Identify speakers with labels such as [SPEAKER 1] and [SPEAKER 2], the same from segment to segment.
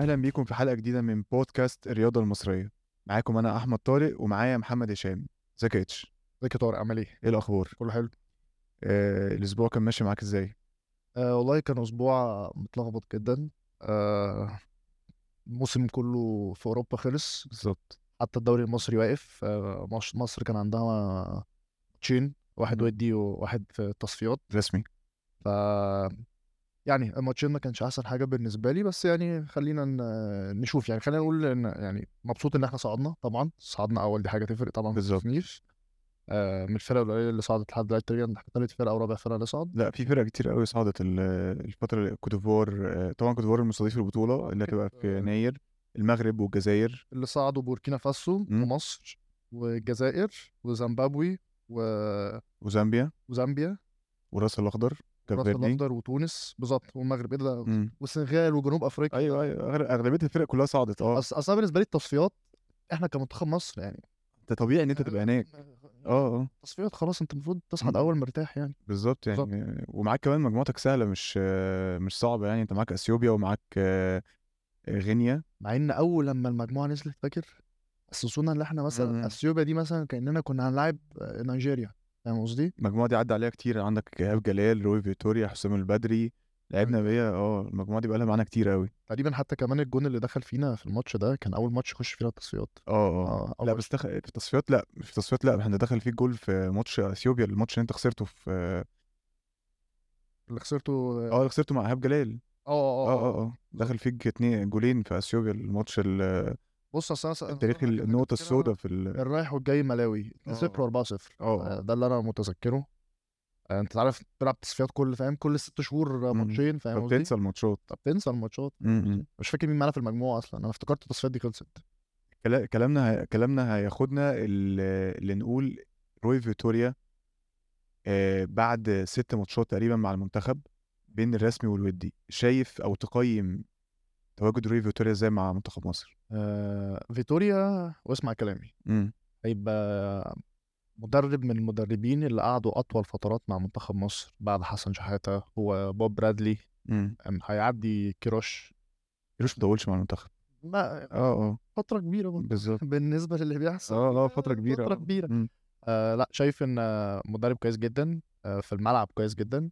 [SPEAKER 1] اهلا بيكم في حلقه جديده من بودكاست الرياضه المصريه معاكم انا احمد طارق ومعايا محمد هشام ازيك يا اتش
[SPEAKER 2] ازيك يا طارق عامل ايه؟
[SPEAKER 1] ايه الاخبار
[SPEAKER 2] كله حلو؟
[SPEAKER 1] آه الاسبوع كان ماشي معاك ازاي
[SPEAKER 2] آه والله كان اسبوع متلخبط جدا آه الموسم كله في اوروبا خلص
[SPEAKER 1] بالظبط
[SPEAKER 2] حتى الدوري المصري واقف آه مش- مصر كان عندها ماتشين واحد
[SPEAKER 1] مم.
[SPEAKER 2] ودي وواحد في التصفيات
[SPEAKER 1] رسمي
[SPEAKER 2] ف يعني الماتشين ما كانش احسن حاجه بالنسبه لي بس يعني خلينا ن- نشوف يعني خلينا نقول ان يعني مبسوط ان احنا صعدنا طبعا صعدنا اول دي حاجه تفرق طبعا في
[SPEAKER 1] بالظبط.
[SPEAKER 2] التصنيف آه من الفرق القليله اللي صعدت لحد دلوقتي تقريبا احنا تالت فرقه او رابع فرقه اللي صعد
[SPEAKER 1] لا في فرق كتير قوي صعدت ال- الفتره اللي- كوت ديفوار آه، طبعا كوت ديفوار المستضيف البطوله اللي هتبقى في
[SPEAKER 2] آه،
[SPEAKER 1] يناير المغرب والجزائر
[SPEAKER 2] اللي صعدوا بوركينا فاسو
[SPEAKER 1] مم.
[SPEAKER 2] ومصر والجزائر وزيمبابوي و-
[SPEAKER 1] وزامبيا
[SPEAKER 2] وزامبيا
[SPEAKER 1] والراس الاخضر كاب
[SPEAKER 2] والراس
[SPEAKER 1] فيردي
[SPEAKER 2] الاخضر وتونس بالظبط والمغرب ايه ده
[SPEAKER 1] مم.
[SPEAKER 2] والسنغال وجنوب افريقيا
[SPEAKER 1] ايوه ايوه أغل- اغلبيه الفرق كلها صعدت اه
[SPEAKER 2] أص... اصلا بالنسبه لي التصفيات احنا كمنتخب مصر يعني
[SPEAKER 1] انت طبيعي ان انت تبقى
[SPEAKER 2] آه.
[SPEAKER 1] هناك اه اه
[SPEAKER 2] التصفيات خلاص انت المفروض تصعد
[SPEAKER 1] مم.
[SPEAKER 2] اول مرتاح يعني
[SPEAKER 1] بالظبط يعني ومعاك كمان مجموعتك سهله مش آه، مش صعبه يعني انت معاك اثيوبيا ومعاك آه، غينيا
[SPEAKER 2] مع ان اول لما المجموعه نزلت فاكر حسسونا ان احنا
[SPEAKER 1] مم.
[SPEAKER 2] مثلا اثيوبيا دي مثلا كاننا كنا هنلاعب آه، نيجيريا فاهم قصدي؟
[SPEAKER 1] المجموعه دي عدى عليها كتير عندك ايهاب جلال روي فيتوريا حسام البدري لعبنا
[SPEAKER 2] أيوة.
[SPEAKER 1] بيها اه المجموعه دي بقالها معانا كتير قوي
[SPEAKER 2] تقريبا حتى كمان الجون اللي دخل فينا في الماتش ده كان اول ماتش يخش فينا التصفيات
[SPEAKER 1] اه اه
[SPEAKER 2] اه
[SPEAKER 1] لا
[SPEAKER 2] اول
[SPEAKER 1] بس دخ... في التصفيات لا مش في التصفيات لا احنا دخل فيك جول في ماتش اثيوبيا الماتش اللي انت خسرته في اه
[SPEAKER 2] اللي خسرته اه
[SPEAKER 1] اللي آه، خسرته مع ايهاب جلال
[SPEAKER 2] اه
[SPEAKER 1] اه
[SPEAKER 2] اه آه.
[SPEAKER 1] اه اه دخل فيك اتنين جولين في اثيوبيا الماتش ال-
[SPEAKER 2] بص اصل انا س- آه، أنا
[SPEAKER 1] التاريخي
[SPEAKER 2] فاكر إن كان
[SPEAKER 1] النقطه
[SPEAKER 2] فينا
[SPEAKER 1] السوداء في ال...
[SPEAKER 2] الرايح والجاي ملاوي
[SPEAKER 1] اه
[SPEAKER 2] 2-0 و4-0
[SPEAKER 1] اه
[SPEAKER 2] ده اللي انا متذكره آه، انت عارف بتلعب تصفيات كل فاهم كل ست شهور آه،
[SPEAKER 1] مم.
[SPEAKER 2] ماتشين فاهم قصدي؟
[SPEAKER 1] فبتنسى الماتشات
[SPEAKER 2] فبتنسى الماتشات فاهم
[SPEAKER 1] مم.
[SPEAKER 2] قصدي؟ مش فاكر مين معانا في المجموعه اصلا انا افتكرت التصفيات دي خلصت
[SPEAKER 1] كلا- كلامنا هي- كلامنا هياخدنا ال- اللي نقول روي فيتوريا آه، بعد ست ماتشات تقريبا مع المنتخب بين الرسمي والودي شايف او تقيم تواجد روي فيتوريا ازاي مع منتخب مصر
[SPEAKER 2] آه فيتوريا واسمع كلامي
[SPEAKER 1] امم
[SPEAKER 2] هيبقى مدرب من المدربين اللي قعدوا اطول فترات مع منتخب مصر بعد حسن شحاته هو بوب برادلي
[SPEAKER 1] امم
[SPEAKER 2] آم، هيعدي كيروش
[SPEAKER 1] مش مطولش مع المنتخب
[SPEAKER 2] ما
[SPEAKER 1] اه اه
[SPEAKER 2] فترة كبيرة برضه
[SPEAKER 1] بالظبط
[SPEAKER 2] بالنسبة للي بيحصل
[SPEAKER 1] اه اه فتره
[SPEAKER 2] آه. آه،
[SPEAKER 1] كبيره
[SPEAKER 2] فترة
[SPEAKER 1] اه
[SPEAKER 2] كبيرة
[SPEAKER 1] مم.
[SPEAKER 2] آه لا شايف ان آه، مدرب كويس جدا آه في الملعب كويس جدا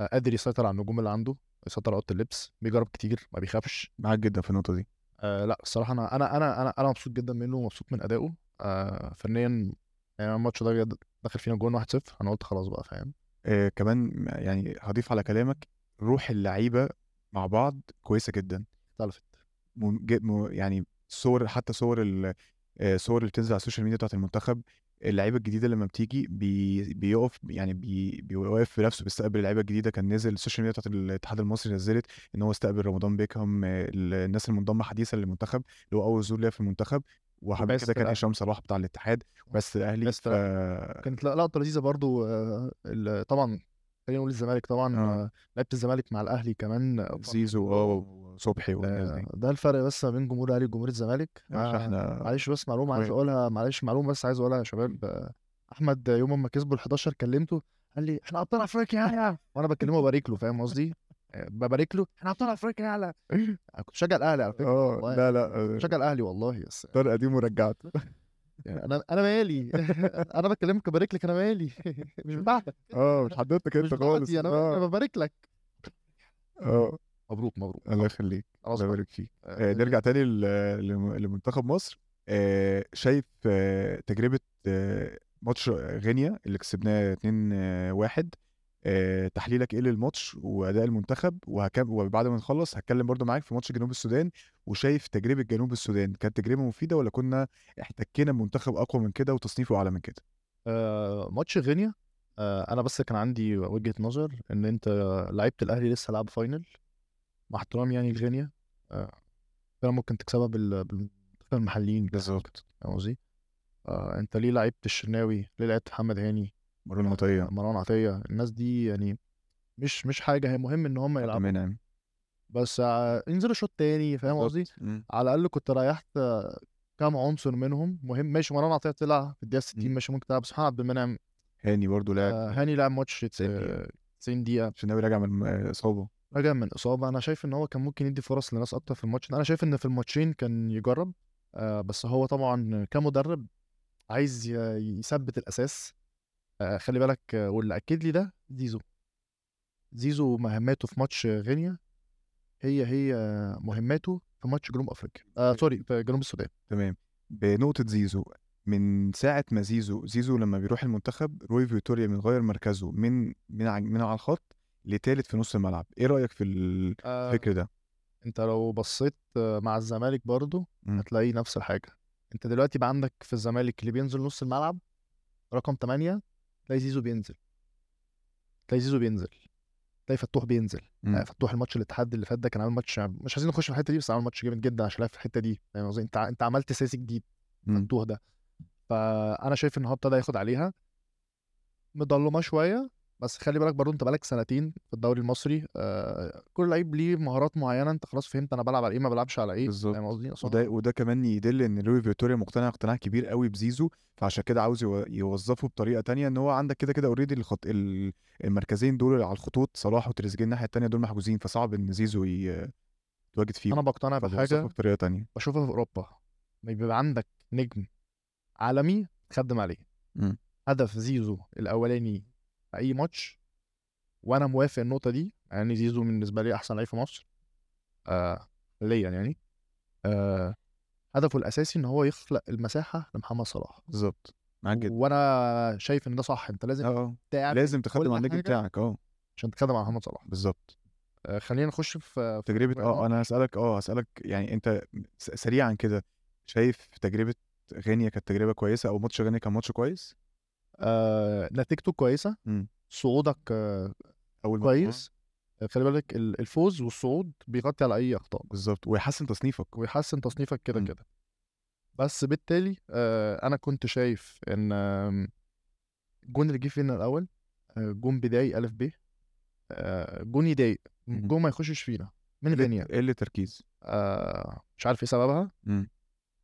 [SPEAKER 2] آه قادر يسيطر على النجوم اللي عنده يسيطر على اوضه اللبس بيجرب كتير ما بيخافش
[SPEAKER 1] معاك جدا في النقطه دي
[SPEAKER 2] آه لا الصراحة انا انا انا انا, أنا مبسوط جدا منه ومبسوط من ادائه آه فنيا يعني الماتش ده جد- دخل فينا جون 1-0 انا قلت خلاص بقى فاهم
[SPEAKER 1] آه كمان يعني هضيف على كلامك روح اللعيبه مع بعض كويسه جدا
[SPEAKER 2] اختلفت
[SPEAKER 1] مم- ج- م- يعني صور حتى صور ال آه، صور اللي بتنزل على السوشيال ميديا بتاعت المنتخب اللعيبه الجديده لما بتيجي بي بيقف يعني بي بيوقف في نفسه بيستقبل اللعيبه الجديده كان نزل السوشيال ميديا بتاعت الاتحاد المصري نزلت ان هو استقبل رمضان بيكهام آه، ال- الناس المنضمه حديثا للمنتخب اللي هو اول زور ليا في المنتخب وحبيب
[SPEAKER 2] وبعثة
[SPEAKER 1] كده كان
[SPEAKER 2] الاهلي
[SPEAKER 1] هشام صلاح بتاع الاتحاد بس الاهلي
[SPEAKER 2] بس
[SPEAKER 1] ف
[SPEAKER 2] كانت لق- لقطة لذيذة برضو آه، ال- طبعا خلينا نقول الزمالك طبعا
[SPEAKER 1] آه،
[SPEAKER 2] آه، لعيبه الزمالك مع الاهلي كمان آه،
[SPEAKER 1] زيزو اه وصبحي والناس
[SPEAKER 2] آه،
[SPEAKER 1] دي
[SPEAKER 2] ده الفرق بس ما بين جمهور الاهلي وجمهور الزمالك
[SPEAKER 1] يا باشا
[SPEAKER 2] آه،
[SPEAKER 1] احنا
[SPEAKER 2] معلش بس معلومه عايز
[SPEAKER 1] اخوات
[SPEAKER 2] اقولها معلش معلومه بس عايز اقولها يا شباب آه، احمد يوم ما كسبوا ال 11 كلمته قال لي احنا ابطال افريقيا يا وانا بكلمه وبارك له فاهم قصدي آه، ببارك له احنا ابطال افريقيا يا انا كنت شجع الاهلي على فكره
[SPEAKER 1] اه
[SPEAKER 2] والله
[SPEAKER 1] لا لا
[SPEAKER 2] كنت
[SPEAKER 1] آه،
[SPEAKER 2] شجع الاهلي والله بس
[SPEAKER 1] طارق قديم ورجعت
[SPEAKER 2] يعني انا انا مالي انا بكلمك ببارك لك انا مالي مش بتاعتك
[SPEAKER 1] اه مش حضرتك
[SPEAKER 2] مش
[SPEAKER 1] انت خالص
[SPEAKER 2] بتاعتي انا
[SPEAKER 1] اه
[SPEAKER 2] انا ببارك لك
[SPEAKER 1] اه
[SPEAKER 2] مبروك مبروك
[SPEAKER 1] الله يخليك
[SPEAKER 2] خلاص
[SPEAKER 1] الله
[SPEAKER 2] بقى
[SPEAKER 1] يبارك فيك آه،
[SPEAKER 2] آه،
[SPEAKER 1] نرجع تاني ل- لم- لمنتخب مصر آه، شايف آه، تجربة آه، ماتش غينيا اللي كسبناه 2-1 آه، تحليلك ايه للماتش واداء المنتخب وهكم وبعد ما نخلص هتكلم برضو معاك في ماتش جنوب السودان وشايف تجربة جنوب السودان كانت تجربة مفيدة ولا كنا احتكينا بمنتخب اقوى من كده وتصنيفه اعلى من كده
[SPEAKER 2] آه، ماتش غينيا آه، انا بس كان عندي وجهة نظر ان انت لعيبه الاهلي لسه لعب فاينل مع احترامي يعني لغينيا آه، كان ممكن تكسبها بال- بالمنتخب المحليين
[SPEAKER 1] بالظبط
[SPEAKER 2] فاهم قصدي آه، انت ليه لعيبه الشناوي ليه لعيبه محمد هاني
[SPEAKER 1] مروان
[SPEAKER 2] آه،
[SPEAKER 1] عطية
[SPEAKER 2] مروان عطيه الناس دي يعني مش مش حاجه هي مهم ان هم
[SPEAKER 1] عبد
[SPEAKER 2] يلعبوا
[SPEAKER 1] المنعم
[SPEAKER 2] بس آه، انزلوا شوط تاني فاهم قصدي
[SPEAKER 1] بالظبط مم.
[SPEAKER 2] على الاقل كنت ريحت آه، كام عنصر منهم مهم ماشي مروان عطيه طلع في الدقيقه 60
[SPEAKER 1] مم.
[SPEAKER 2] ماشي ممكن تلعب سبحان عبد المنعم
[SPEAKER 1] هاني برضو لاعب
[SPEAKER 2] آه، هاني لعب ماتش
[SPEAKER 1] 90 دقيقة
[SPEAKER 2] 90 دقيقه
[SPEAKER 1] عشان ناوي راجع من آه، إصابة
[SPEAKER 2] راجع من اصابه انا شايف ان هو كان ممكن يدي فرص لناس اكتر في الماتش ده. انا شايف ان في الماتشين كان يجرب آه، بس هو طبعا كمدرب عايز ي- يثبت الاساس آه، خلي بالك آه، واللي اكد لي ده زيزو زيزو مهماته في ماتش غينيا هي هي آه، مهماته في ماتش جنوب افريقيا آه سوري في جنوب السودان
[SPEAKER 1] تمام بنقطة زيزو من ساعة ما زيزو زيزو لما بيروح المنتخب روي فيتوريا بيغير مركزه من من ع- من على الخط لتالت في نص الملعب ايه رأيك في
[SPEAKER 2] آه
[SPEAKER 1] الفكر ده
[SPEAKER 2] انت لو بصيت آه، مع الزمالك برضو
[SPEAKER 1] مم.
[SPEAKER 2] هتلاقي نفس الحاجه انت دلوقتي بقى عندك في الزمالك اللي بينزل نص الملعب رقم 8 تلاقي زيزو بينزل تلاقي زيزو بينزل تلاقي فتوح بينزل
[SPEAKER 1] مم.
[SPEAKER 2] آه، فتوح الماتش الاتحاد اللي فات ده كان عامل ماتش مش عايزين نخش في الحته دي بس عامل ماتش جامد جدا عشان لعب في الحته دي فاهم قصدي انت انت عملت سياسي جديد
[SPEAKER 1] مم.
[SPEAKER 2] فتوح ده فانا شايف ان هبطه ده ياخد عليها مضلمه شويه بس خلي بالك برضو انت بقالك سنتين في الدوري المصري آه كل لعيب ليه مهارات معينه انت خلاص فهمت انا بلعب على ايه ما بلعبش على ايه
[SPEAKER 1] بالظبط.
[SPEAKER 2] فاهم قصدي أصلاً
[SPEAKER 1] وده وده كمان يدل ان روي فيتوريا مقتنع اقتناع كبير قوي بزيزو فعشان كده عاوز يو- يوظفه بطريقه تانية ان هو عندك كده كده اوريدي الخط ال- المركزين دول على الخطوط صلاح وتريزيجيه الناحيه التانية دول محجوزين فصعب ان زيزو ي- يتواجد فيهم
[SPEAKER 2] انا بقتنع
[SPEAKER 1] فبوظفه
[SPEAKER 2] بحاجه
[SPEAKER 1] بطريقه تانية
[SPEAKER 2] بشوفها في اوروبا انك بيبقى عندك نجم عالمي تخدم عليه
[SPEAKER 1] مم.
[SPEAKER 2] هدف زيزو الاولاني في اي ماتش وانا موافق النقطه دي يعني زيزو بالنسبه لي احسن لعيب في مصر آه ليا يعني آه هدفه الاساسي ان هو يخلق المساحه لمحمد صلاح
[SPEAKER 1] بالظبط معاك جدا
[SPEAKER 2] وانا شايف ان ده صح انت لازم
[SPEAKER 1] اه
[SPEAKER 2] تعمل
[SPEAKER 1] لازم تخدم
[SPEAKER 2] كل
[SPEAKER 1] على النجم
[SPEAKER 2] حاجة
[SPEAKER 1] بتاعك اه
[SPEAKER 2] عشان تخدم على محمد صلاح
[SPEAKER 1] بالظبط
[SPEAKER 2] آه خلينا نخش في في
[SPEAKER 1] تجربه اه
[SPEAKER 2] آه.
[SPEAKER 1] انا هسالك اه هسالك يعني انت س- سريعا كده شايف تجربه غينيا كانت تجربه كويسه او ماتش غينيا كان ماتش كويس
[SPEAKER 2] آه، نتيجته كويسه
[SPEAKER 1] مم.
[SPEAKER 2] صعودك آه
[SPEAKER 1] اول ماتش
[SPEAKER 2] كويس آه، خلي بالك ال- الفوز والصعود بيغطي على اي اخطاء
[SPEAKER 1] بالظبط ويحسن تصنيفك
[SPEAKER 2] ويحسن تصنيفك كده
[SPEAKER 1] مم.
[SPEAKER 2] كده بس بالتالي آه انا كنت شايف ان آم، الجون اللي جه فينا الاول آه، جون بداية الف ب آه، جون يضايق
[SPEAKER 1] مم.
[SPEAKER 2] جون ما يخشش فينا من
[SPEAKER 1] قله
[SPEAKER 2] غينيا
[SPEAKER 1] قله تركيز
[SPEAKER 2] آه مش عارف ايه سببها
[SPEAKER 1] مم.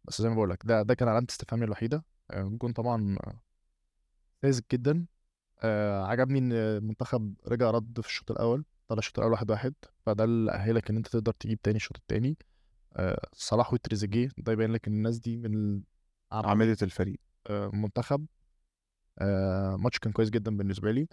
[SPEAKER 2] بس زي ما بقول لك ده ده كان علامة استفهامي الوحيدة آه، الجون طبعا آه، ساذج جدا آه عجبني ان المنتخب رجع رد في الشوط الاول طلع الشوط الاول واحد واحد فده اللي اهلك ان انت تقدر تجيب تاني الشوط التاني آه صلاح وتريزيجيه ده يبين لك ان الناس دي من
[SPEAKER 1] عماله الفريق
[SPEAKER 2] آه، منتخب آه ماتش كان كويس جدا بالنسبه لي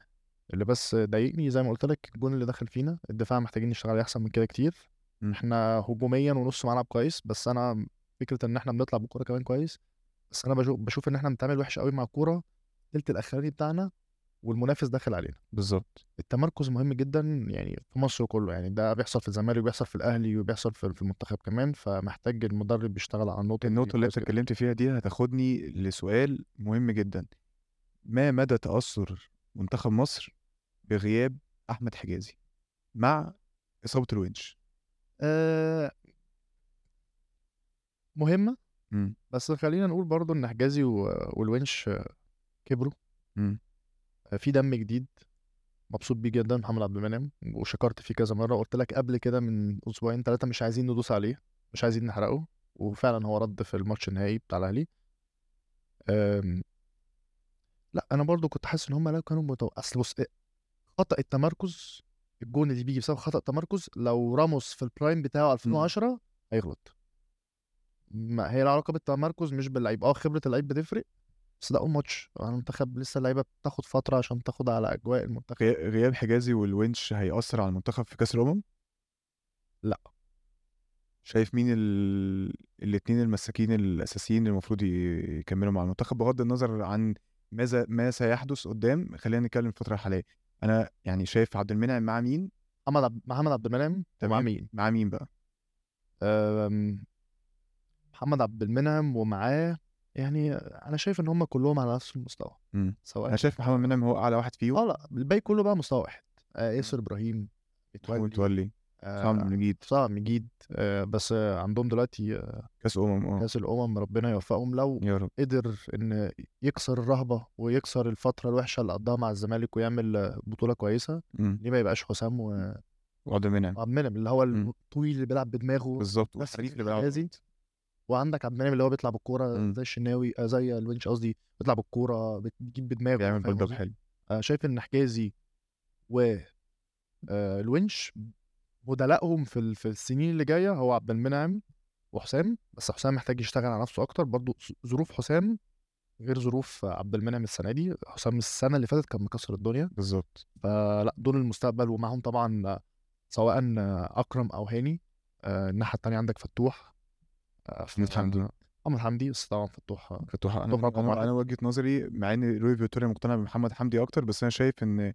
[SPEAKER 2] اللي بس ضايقني زي ما قلت لك الجون اللي دخل فينا الدفاع محتاجين نشتغل عليه احسن من كده كتير
[SPEAKER 1] مم.
[SPEAKER 2] احنا هجوميا ونص ملعب كويس بس انا فكره ان احنا بنطلع بالكوره كمان كويس بس انا بشوف, بشوف ان احنا بنتعامل وحش قوي مع الكوره التلت الاخراني بتاعنا والمنافس داخل علينا
[SPEAKER 1] بالظبط
[SPEAKER 2] التمركز مهم جدا يعني في مصر كله يعني ده بيحصل في الزمالك وبيحصل في الاهلي وبيحصل في في المنتخب كمان فمحتاج المدرب يشتغل على النقطه دي
[SPEAKER 1] النقطه اللي انت
[SPEAKER 2] كويس جدا
[SPEAKER 1] اتكلمت فيها دي هتاخدني لسؤال مهم جدا ما مدى تاثر منتخب مصر بغياب احمد حجازي مع اصابه الونش
[SPEAKER 2] آه مهمه
[SPEAKER 1] مم.
[SPEAKER 2] بس خلينا نقول برضو ان حجازي و- والونش كبروا
[SPEAKER 1] مم.
[SPEAKER 2] في دم جديد مبسوط بيه جدا محمد عبد المنعم وشكرت فيه كذا مره وقلت لك قبل كده من اسبوعين ثلاثه مش عايزين ندوس عليه مش عايزين نحرقه وفعلا هو رد في الماتش النهائي بتاع الاهلي آم، لا انا برضو كنت حاسس ان هم لو كانوا متو... اصل بص إيه، خطأ التمركز الجون اللي بيجي بسبب خطأ التمركز لو راموس في البرايم بتاعه 2010 هيغلط ما هي لها علاقه بالتمركز مش باللعيب اه خبره اللعيب بتفرق بس ده اول ماتش على المنتخب لسه اللعيبه بتاخد فتره عشان تاخد على اجواء المنتخب
[SPEAKER 1] غي- غياب حجازي والونش هيأثر على المنتخب في كأس الأمم؟
[SPEAKER 2] لا.
[SPEAKER 1] شايف مين ال... الاتنين المساكين الأساسيين اللي المفروض ي- يكملوا مع المنتخب بغض النظر عن ماذا ما سيحدث قدام خلينا نتكلم الفترة الحالية أنا يعني شايف عبد المنعم مع مين
[SPEAKER 2] محمد عبد محمد عبد المنعم ومع
[SPEAKER 1] تمام
[SPEAKER 2] مين؟
[SPEAKER 1] مع مين بقى
[SPEAKER 2] أم، محمد عبد المنعم ومعاه يعني انا شايف ان هم كلهم على نفس المستوى
[SPEAKER 1] مم.
[SPEAKER 2] سواء
[SPEAKER 1] أنا شايف محمد منعم هو أعلى واحد فيهم
[SPEAKER 2] اه لا الباقي كله بقى مستوى واحد آه ياسر ابراهيم
[SPEAKER 1] محمود
[SPEAKER 2] متولي
[SPEAKER 1] متولي صعب
[SPEAKER 2] آه
[SPEAKER 1] نجيد
[SPEAKER 2] صعب مجيد آه بس آه عندهم دلوقتي آه،
[SPEAKER 1] كأس أمم اه
[SPEAKER 2] كاس الامم ربنا يوفقهم لو
[SPEAKER 1] يا رب
[SPEAKER 2] قدر ان يكسر الرهبه ويكسر الفتره الوحشه اللي قضاها مع الزمالك ويعمل آه، بطوله كويسه
[SPEAKER 1] مم.
[SPEAKER 2] ليه ما يبقاش حسام
[SPEAKER 1] إمم.
[SPEAKER 2] وعبد
[SPEAKER 1] وعبد المنعم
[SPEAKER 2] المنعم اللي هو
[SPEAKER 1] مم.
[SPEAKER 2] الطويل اللي بيلعب بدماغه
[SPEAKER 1] بالظبط
[SPEAKER 2] نفس
[SPEAKER 1] والحريف إمم. اللي
[SPEAKER 2] فكره
[SPEAKER 1] بيلعب إمم. على
[SPEAKER 2] حجازي
[SPEAKER 1] الأرض.
[SPEAKER 2] وعندك عبد المنعم اللي هو بيطلع بالكوره
[SPEAKER 1] مم.
[SPEAKER 2] زي الشناوي آه، زي الونش قصدي بيطلع بالكوره بت- بتجيب بدماغه
[SPEAKER 1] بيعمل
[SPEAKER 2] فاهم آه،
[SPEAKER 1] بلد
[SPEAKER 2] قصدي؟
[SPEAKER 1] حلو
[SPEAKER 2] آه، شايف ان حجازي والونش بدلائهم في ال- في السنين اللي جايه هو عبد المنعم وحسام بس حسام محتاج يشتغل على نفسه اكتر برضو ظ- ظروف حسام غير ظروف عبد المنعم السنه دي حسام السنه اللي فاتت كان مكسر الدنيا
[SPEAKER 1] بالظبط
[SPEAKER 2] فلا دول المستقبل ومعهم طبعا سواء اكرم او هاني آه، الناحيه التانية عندك فتوح آه، ف- محمد حمدي بس طبعا فتوح آه،
[SPEAKER 1] فتوح انا
[SPEAKER 2] فتوح رقم
[SPEAKER 1] انا,
[SPEAKER 2] واحد.
[SPEAKER 1] أنا وجهه نظري مع ان لوي فيتوريا مقتنع بمحمد حمدي اكتر بس انا شايف ان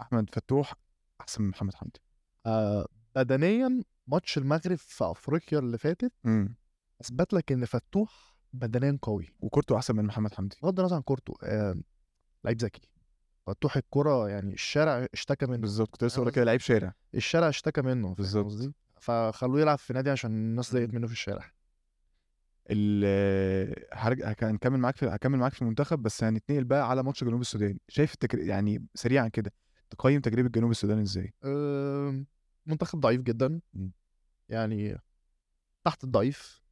[SPEAKER 1] احمد فتوح احسن من محمد حمدي
[SPEAKER 2] آه، بدنيا ماتش المغرب في افريقيا اللي فاتت
[SPEAKER 1] امم
[SPEAKER 2] اثبت لك ان فتوح بدنيا قوي
[SPEAKER 1] وكورته احسن من محمد حمدي
[SPEAKER 2] بغض النظر عن كورته آه، لعيب ذكي فتوح الكرة يعني الشارع اشتكى منه
[SPEAKER 1] بالظبط كنت لسه هقول لك كده لعيب شارع
[SPEAKER 2] الشارع اشتكى منه فاهم
[SPEAKER 1] بالظبط.
[SPEAKER 2] قصدي فخلوه يلعب في نادي عشان الناس
[SPEAKER 1] إمم.
[SPEAKER 2] ضايقت منه في الشارع
[SPEAKER 1] ال- هرجع هك- هنكمل معاك في هكمل معاك في المنتخب بس هنتنقل بقى على ماتش جنوب السودان شايف التكر... يعني سريعا كده تقيم تجربه جنوب السودان ازاي
[SPEAKER 2] آم، آمم، منتخب ضعيف جدا
[SPEAKER 1] مم.
[SPEAKER 2] يعني تحت الضعيف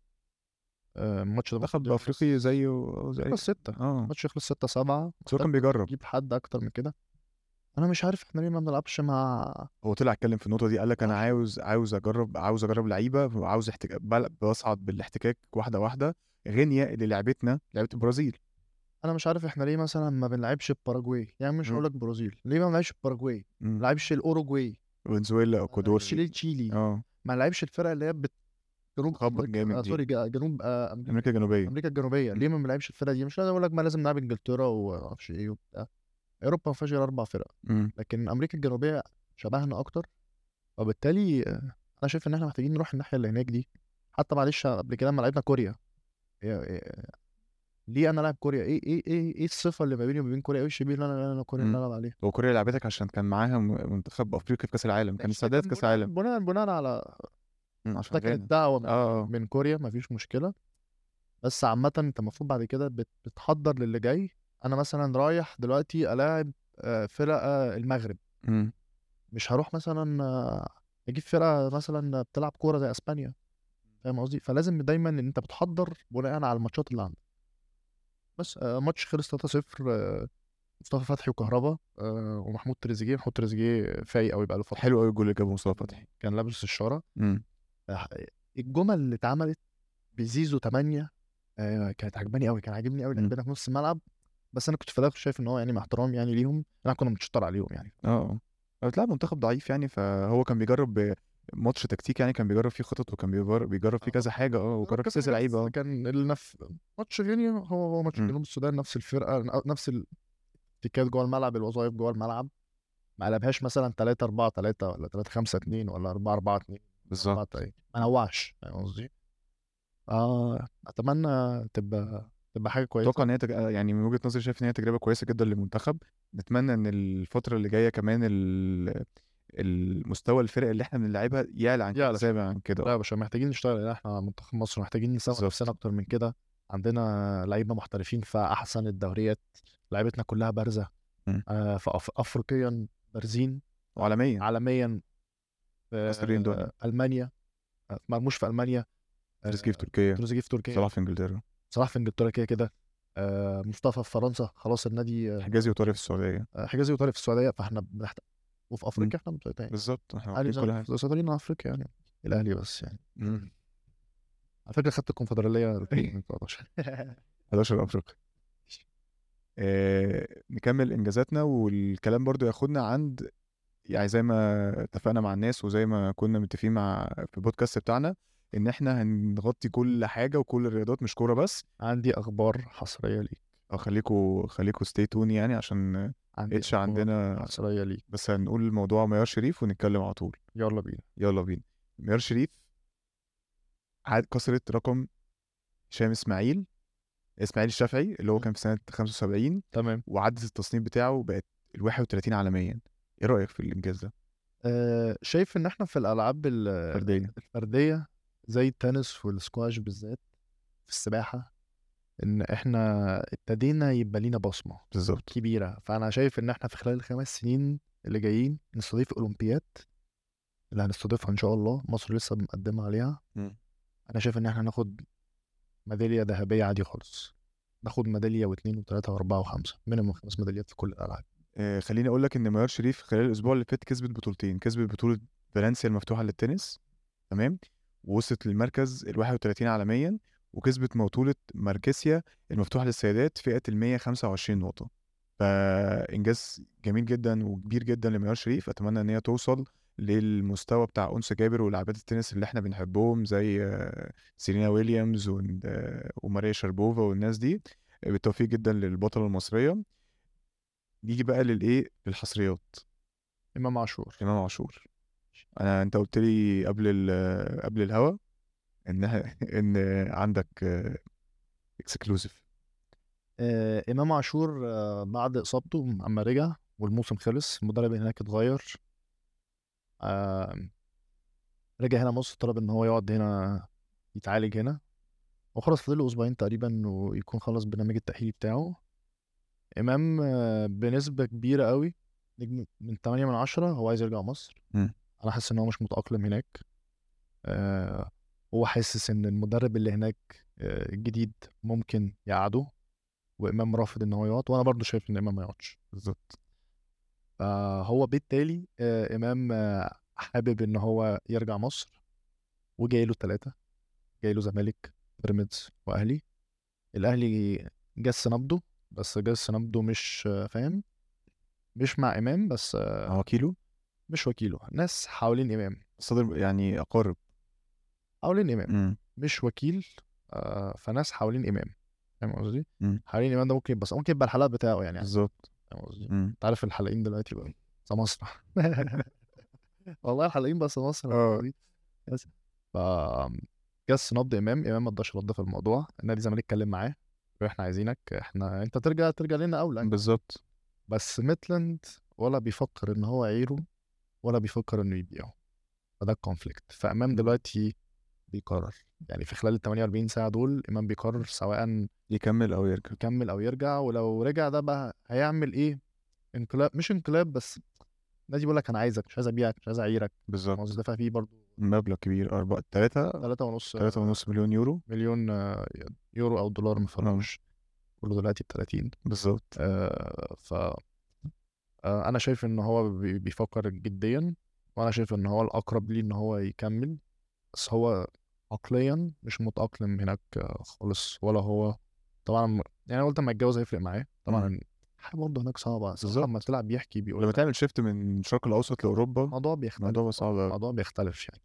[SPEAKER 2] آه، الماتش ده
[SPEAKER 1] منتخب
[SPEAKER 2] المفروض يخلص-
[SPEAKER 1] افريقي زيه أو زي
[SPEAKER 2] يخلص ستة
[SPEAKER 1] اه
[SPEAKER 2] الماتش يخلص ستة سبعة
[SPEAKER 1] بس هو كان بيجرب
[SPEAKER 2] جيب حد أكتر من كده أنا مش عارف إحنا ليه ما بنلعبش مع
[SPEAKER 1] هو طلع اتكلم في النقطه دي قال لك انا
[SPEAKER 2] آه.
[SPEAKER 1] عاوز عاوز اجرب عاوز اجرب لعيبه وعاوز احتك... بل- بصعد بالاحتكاك واحده واحده غينيا اللي لعبتنا لعبت البرازيل
[SPEAKER 2] أنا مش عارف إحنا ليه مثلا ما بنلعبش باراجواي يعني مش
[SPEAKER 1] مم.
[SPEAKER 2] هقول لك برازيل ليه ما بنلعبش باراجواي ما
[SPEAKER 1] مم.
[SPEAKER 2] بنلعبش الأوروجواي
[SPEAKER 1] فنزويلا
[SPEAKER 2] ما بنلعبش
[SPEAKER 1] اكوادور
[SPEAKER 2] ليه تشيلي
[SPEAKER 1] اه
[SPEAKER 2] ما لعبش الفرق اللي هي بت... جنوب
[SPEAKER 1] خبط
[SPEAKER 2] أمريكا-
[SPEAKER 1] جامد
[SPEAKER 2] آه،
[SPEAKER 1] دي.
[SPEAKER 2] سوري جا- جنوب آه، امريكا
[SPEAKER 1] امريكا الجنوبيه
[SPEAKER 2] امريكا الجنوبيه ليه ما بنلعبش الفرق دي مش لازم اقول لك ما لازم نلعب انجلترا ومعرفش ايه وبتاع اوروبا ما فيهاش غير اربع فرق
[SPEAKER 1] مم.
[SPEAKER 2] لكن امريكا الجنوبيه شبهنا اكتر وبالتالي آه، انا شايف ان احنا محتاجين نروح الناحيه اللي هناك دي حتى معلش قبل كده لما لعبنا كوريا إيه- إيه- ليه انا لاعب كوريا ايه ايه ايه ايه الصفه اللي ما بيني وما بين كوريا ايه الشبيه اللي انا انا كوريا اللي
[SPEAKER 1] مم.
[SPEAKER 2] انا العب عليها
[SPEAKER 1] هو كوريا لعبتك عشان كان معاها م- منتخب افريقيا في كاس العالم
[SPEAKER 2] ماشي،
[SPEAKER 1] كان
[SPEAKER 2] لكن
[SPEAKER 1] السعوديه في كاس
[SPEAKER 2] بناء-
[SPEAKER 1] العالم
[SPEAKER 2] بناء بناء على
[SPEAKER 1] مم،
[SPEAKER 2] ده
[SPEAKER 1] عشان
[SPEAKER 2] كانت
[SPEAKER 1] غانا
[SPEAKER 2] دعوه من
[SPEAKER 1] اه اه
[SPEAKER 2] من كوريا مفيش مشكله بس عامة انت المفروض بعد كده بت- بتحضر للي جاي انا مثلا رايح دلوقتي الاعب آه، فرق آه، المغرب
[SPEAKER 1] مم.
[SPEAKER 2] مش هروح مثلا آه، اجيب فرقة مثلا بتلعب كورة زي اسبانيا فاهم قصدي فلازم دايما ان انت بتحضر بناء على الماتشات اللي عندك بس آه، ماتش خلص 3-0 آه، مصطفى فتحي وكهربا آه، ومحمود تريزيجيه محمود تريزيجيه فايق قوي بقاله فترة
[SPEAKER 1] حلو قوي الجول اللي جابه مصطفى فتحي
[SPEAKER 2] كان لابس الشارة
[SPEAKER 1] مم.
[SPEAKER 2] آه، الجمل اللي اتعملت بزيزو 8 آه، كانت عجباني قوي كان عاجبني قوي
[SPEAKER 1] مم.
[SPEAKER 2] لعبنا في نص الملعب بس انا كنت في الاخر شايف ان هو يعني مع احترام يعني ليهم انا كنا بنشطر عليهم يعني
[SPEAKER 1] اه اه بتلعب منتخب ضعيف يعني فهو كان بيجرب ب- ماتش تكتيك يعني كان بيجرب فيه خطط وكان بيجرب, بيجرب فيه
[SPEAKER 2] آه.
[SPEAKER 1] كذا حاجه اه وجرب فيه
[SPEAKER 2] كذا حاجة
[SPEAKER 1] كذا لعيبه
[SPEAKER 2] بس
[SPEAKER 1] اه
[SPEAKER 2] كان النف... ماتش غينيا هو هو ماتش
[SPEAKER 1] مم.
[SPEAKER 2] جنوب السودان نفس الفرقه نفس التكات جوه الملعب الوظائف جوه الملعب ما قلبهاش مثلا 3 4 3 ولا 3 5 2 ولا 4 4 2 4
[SPEAKER 1] بالظبط
[SPEAKER 2] 3 ما نوعش فاهم قصدي؟ اه اتمنى تبقى تبقى حاجه كويسه
[SPEAKER 1] اتوقع ان هي تج... آه يعني من وجهه نظري شايف ان هي تجربه كويسه جدا للمنتخب نتمنى ان الفتره اللي جايه كمان ال... المستوى الفرق اللي احنا بنلعبها يعلى عن كده
[SPEAKER 2] يعلى
[SPEAKER 1] سابع عن كده
[SPEAKER 2] لا
[SPEAKER 1] اه
[SPEAKER 2] يا باشا محتاجين نشتغل يعني احنا منتخب مصر محتاجين نسوق
[SPEAKER 1] بالظبط.
[SPEAKER 2] نفسنا اكتر من كده عندنا لعيبه محترفين في احسن الدوريات لعيبتنا كلها بارزه
[SPEAKER 1] مم.
[SPEAKER 2] آه فأف... افريقيا بارزين
[SPEAKER 1] وعالميا
[SPEAKER 2] عالميا في
[SPEAKER 1] مصريين دول.
[SPEAKER 2] آه، المانيا آه، مرموش في المانيا آه،
[SPEAKER 1] تريزيجيه في تركيا
[SPEAKER 2] تروزيجيه في تركيا
[SPEAKER 1] صلاح في انجلترا
[SPEAKER 2] صلاح في انجلترا كده كده آه، مصطفى في فرنسا خلاص النادي آه،
[SPEAKER 1] حجازي وطارق في السعوديه
[SPEAKER 2] آه، حجازي وطارق في السعوديه فاحنا بنحتاج وفي افريقيا احنا مسيطرين
[SPEAKER 1] بالظبط احنا
[SPEAKER 2] اهلي
[SPEAKER 1] واخدين كل حاجه
[SPEAKER 2] وزمالك مسيطرين على افريقيا يعني الاهلي بس يعني
[SPEAKER 1] مم.
[SPEAKER 2] على فكره خدت الكونفدراليه 2019
[SPEAKER 1] 11 افريقيا آه، نكمل انجازاتنا والكلام برضو ياخدنا عند يعني زي ما اتفقنا مع الناس وزي ما كنا متفقين مع في البودكاست بتاعنا ان احنا هنغطي كل حاجه وكل الرياضات مش كوره بس
[SPEAKER 2] عندي اخبار حصريه ليك
[SPEAKER 1] اه خليكوا خليكوا ستي تون يعني عشان
[SPEAKER 2] عندي
[SPEAKER 1] اتش
[SPEAKER 2] اخبار
[SPEAKER 1] عندنا
[SPEAKER 2] حصريه ليك
[SPEAKER 1] بس هنقول الموضوع ميار شريف ونتكلم على طول
[SPEAKER 2] يلا بينا
[SPEAKER 1] يلا بينا ميار شريف عاد كسرت رقم هشام اسماعيل اسماعيل الشافعي اللي هو كان في سنه 75
[SPEAKER 2] تمام
[SPEAKER 1] وعدت التصنيف بتاعه بقت ال 31 عالميا ايه رايك في الانجاز ده
[SPEAKER 2] أه شايف ان احنا في الالعاب ال-
[SPEAKER 1] فرديا
[SPEAKER 2] الفرديه زي التنس والسكواش بالذات في السباحه ان احنا ابتدينا يبقى لينا بصمه
[SPEAKER 1] بالظبط
[SPEAKER 2] كبيره فانا شايف ان احنا في خلال الخمس سنين اللي جايين نستضيف اولمبياد اللي هنستضيفها ان شاء الله مصر لسه مقدمه عليها
[SPEAKER 1] مم.
[SPEAKER 2] انا شايف ان احنا هناخد ميداليه ذهبيه عادي خالص ناخد ميداليه واثنين وثلاثه واربعه وخمسه مينيموم خمس ميداليات في كل الالعاب
[SPEAKER 1] آه خليني اقول لك ان ميار شريف خلال الاسبوع اللي فات كسبت بطولتين كسبت بطوله فالنسيا المفتوحه للتنس تمام ووصلت للمركز ال 31 عالميا وكسبت بطوله ماركسيا المفتوحه للسيدات فئه ال 125 نقطه فانجاز جميل جدا وكبير جدا لميار شريف اتمنى ان هي توصل للمستوى بتاع انس جابر ولاعبات التنس اللي احنا بنحبهم زي آه، سيرينا ويليامز وإن- آه، وماريا شربوفا والناس دي بالتوفيق جدا للبطله المصريه نيجي بقى للايه للحصريات
[SPEAKER 2] امام عاشور
[SPEAKER 1] امام عاشور انا انت قلت لي قبل ال- قبل الهوا ان ان عندك اكسكلوسيف
[SPEAKER 2] آه، امام عاشور آه، بعد اصابته اما رجع والموسم خلص المدرب هناك اتغير آه، رجع هنا مصر طلب ان هو يقعد هنا يتعالج هنا وخلاص فاضل له اسبوعين تقريبا ويكون خلص برنامج التاهيلي بتاعه امام آه، بنسبه كبيره قوي نجم من 8 من 10 هو عايز يرجع مصر
[SPEAKER 1] مم.
[SPEAKER 2] انا حاسس ان هو مش متاقلم هناك آه، هو حاسس ان المدرب اللي هناك آه، الجديد ممكن يقعده وامام رافض ان هو يقعد وانا برضو شايف ان امام ما يقعدش
[SPEAKER 1] بالظبط
[SPEAKER 2] فهو بالتالي آه، امام آه، حابب ان هو يرجع مصر وجاي له ثلاثه جاي له زمالك بيراميدز واهلي الاهلي جس نبضه بس جس نبضه مش آه، فاهم مش مع امام بس آه،
[SPEAKER 1] هو كيلو
[SPEAKER 2] مش وكيله ناس حوالين امام
[SPEAKER 1] صدر يعني اقارب
[SPEAKER 2] حوالين امام
[SPEAKER 1] مم.
[SPEAKER 2] مش وكيل آه، فناس حوالين امام فاهم قصدي
[SPEAKER 1] مم.
[SPEAKER 2] حوالين امام ده ممكن بس ممكن يبقى الحلقه بتاعه يعني
[SPEAKER 1] بالظبط
[SPEAKER 2] فاهم قصدي
[SPEAKER 1] مم.
[SPEAKER 2] انت عارف الحلقين دلوقتي بقى ده مسرح والله الحلقين بس مسرح
[SPEAKER 1] اه.
[SPEAKER 2] دي. بس آه. ف جس نبض امام امام ما اداش رد في الموضوع نادي الزمالك اتكلم معاه احنا عايزينك احنا انت ترجع ترجع لنا
[SPEAKER 1] إمم.
[SPEAKER 2] اولى
[SPEAKER 1] بالظبط
[SPEAKER 2] بس ميتلاند ولا بيفكر ان هو يعيره ولا بيفكر انه يبيعه فده الكونفليكت فامام دلوقتي بيقرر يعني في خلال ال 48 ساعه دول امام بيقرر سواء
[SPEAKER 1] يكمل او يركب
[SPEAKER 2] يكمل او يرجع ولو رجع ده بقى هيعمل ايه انقلاب مش انقلاب بس النادي بيقول لك انا عايزك مش عايز ابيعك مش عايز اعيرك ما هو
[SPEAKER 1] بالظبط
[SPEAKER 2] دفع فيه برضه
[SPEAKER 1] مبلغ كبير أربعة تلاتة
[SPEAKER 2] 3.5
[SPEAKER 1] تلاتة ونص مليون يورو
[SPEAKER 2] مليون آه، يورو او دولار ما
[SPEAKER 1] آه.
[SPEAKER 2] فرقوش كله دلوقتي ب 30
[SPEAKER 1] بالظبط
[SPEAKER 2] آه، ف آه، انا شايف ان هو بي- بيفكر جديا وانا شايف ان هو الاقرب ليه ان هو يكمل بس هو عقليا مش متاقلم هناك آه، خالص ولا هو طبعا م- يعني أنا قلت لما يتجوز هيفرق معاه طبعا الحياه برضه هناك صعبه صراحه
[SPEAKER 1] بالظبط.
[SPEAKER 2] لما تلعب بيحكي بيقول
[SPEAKER 1] لما
[SPEAKER 2] لك
[SPEAKER 1] تعمل شيفت من الشرق الاوسط لاوروبا
[SPEAKER 2] الموضوع بيختلف
[SPEAKER 1] الموضوع صعب أوي.
[SPEAKER 2] الموضوع بيختلف يعني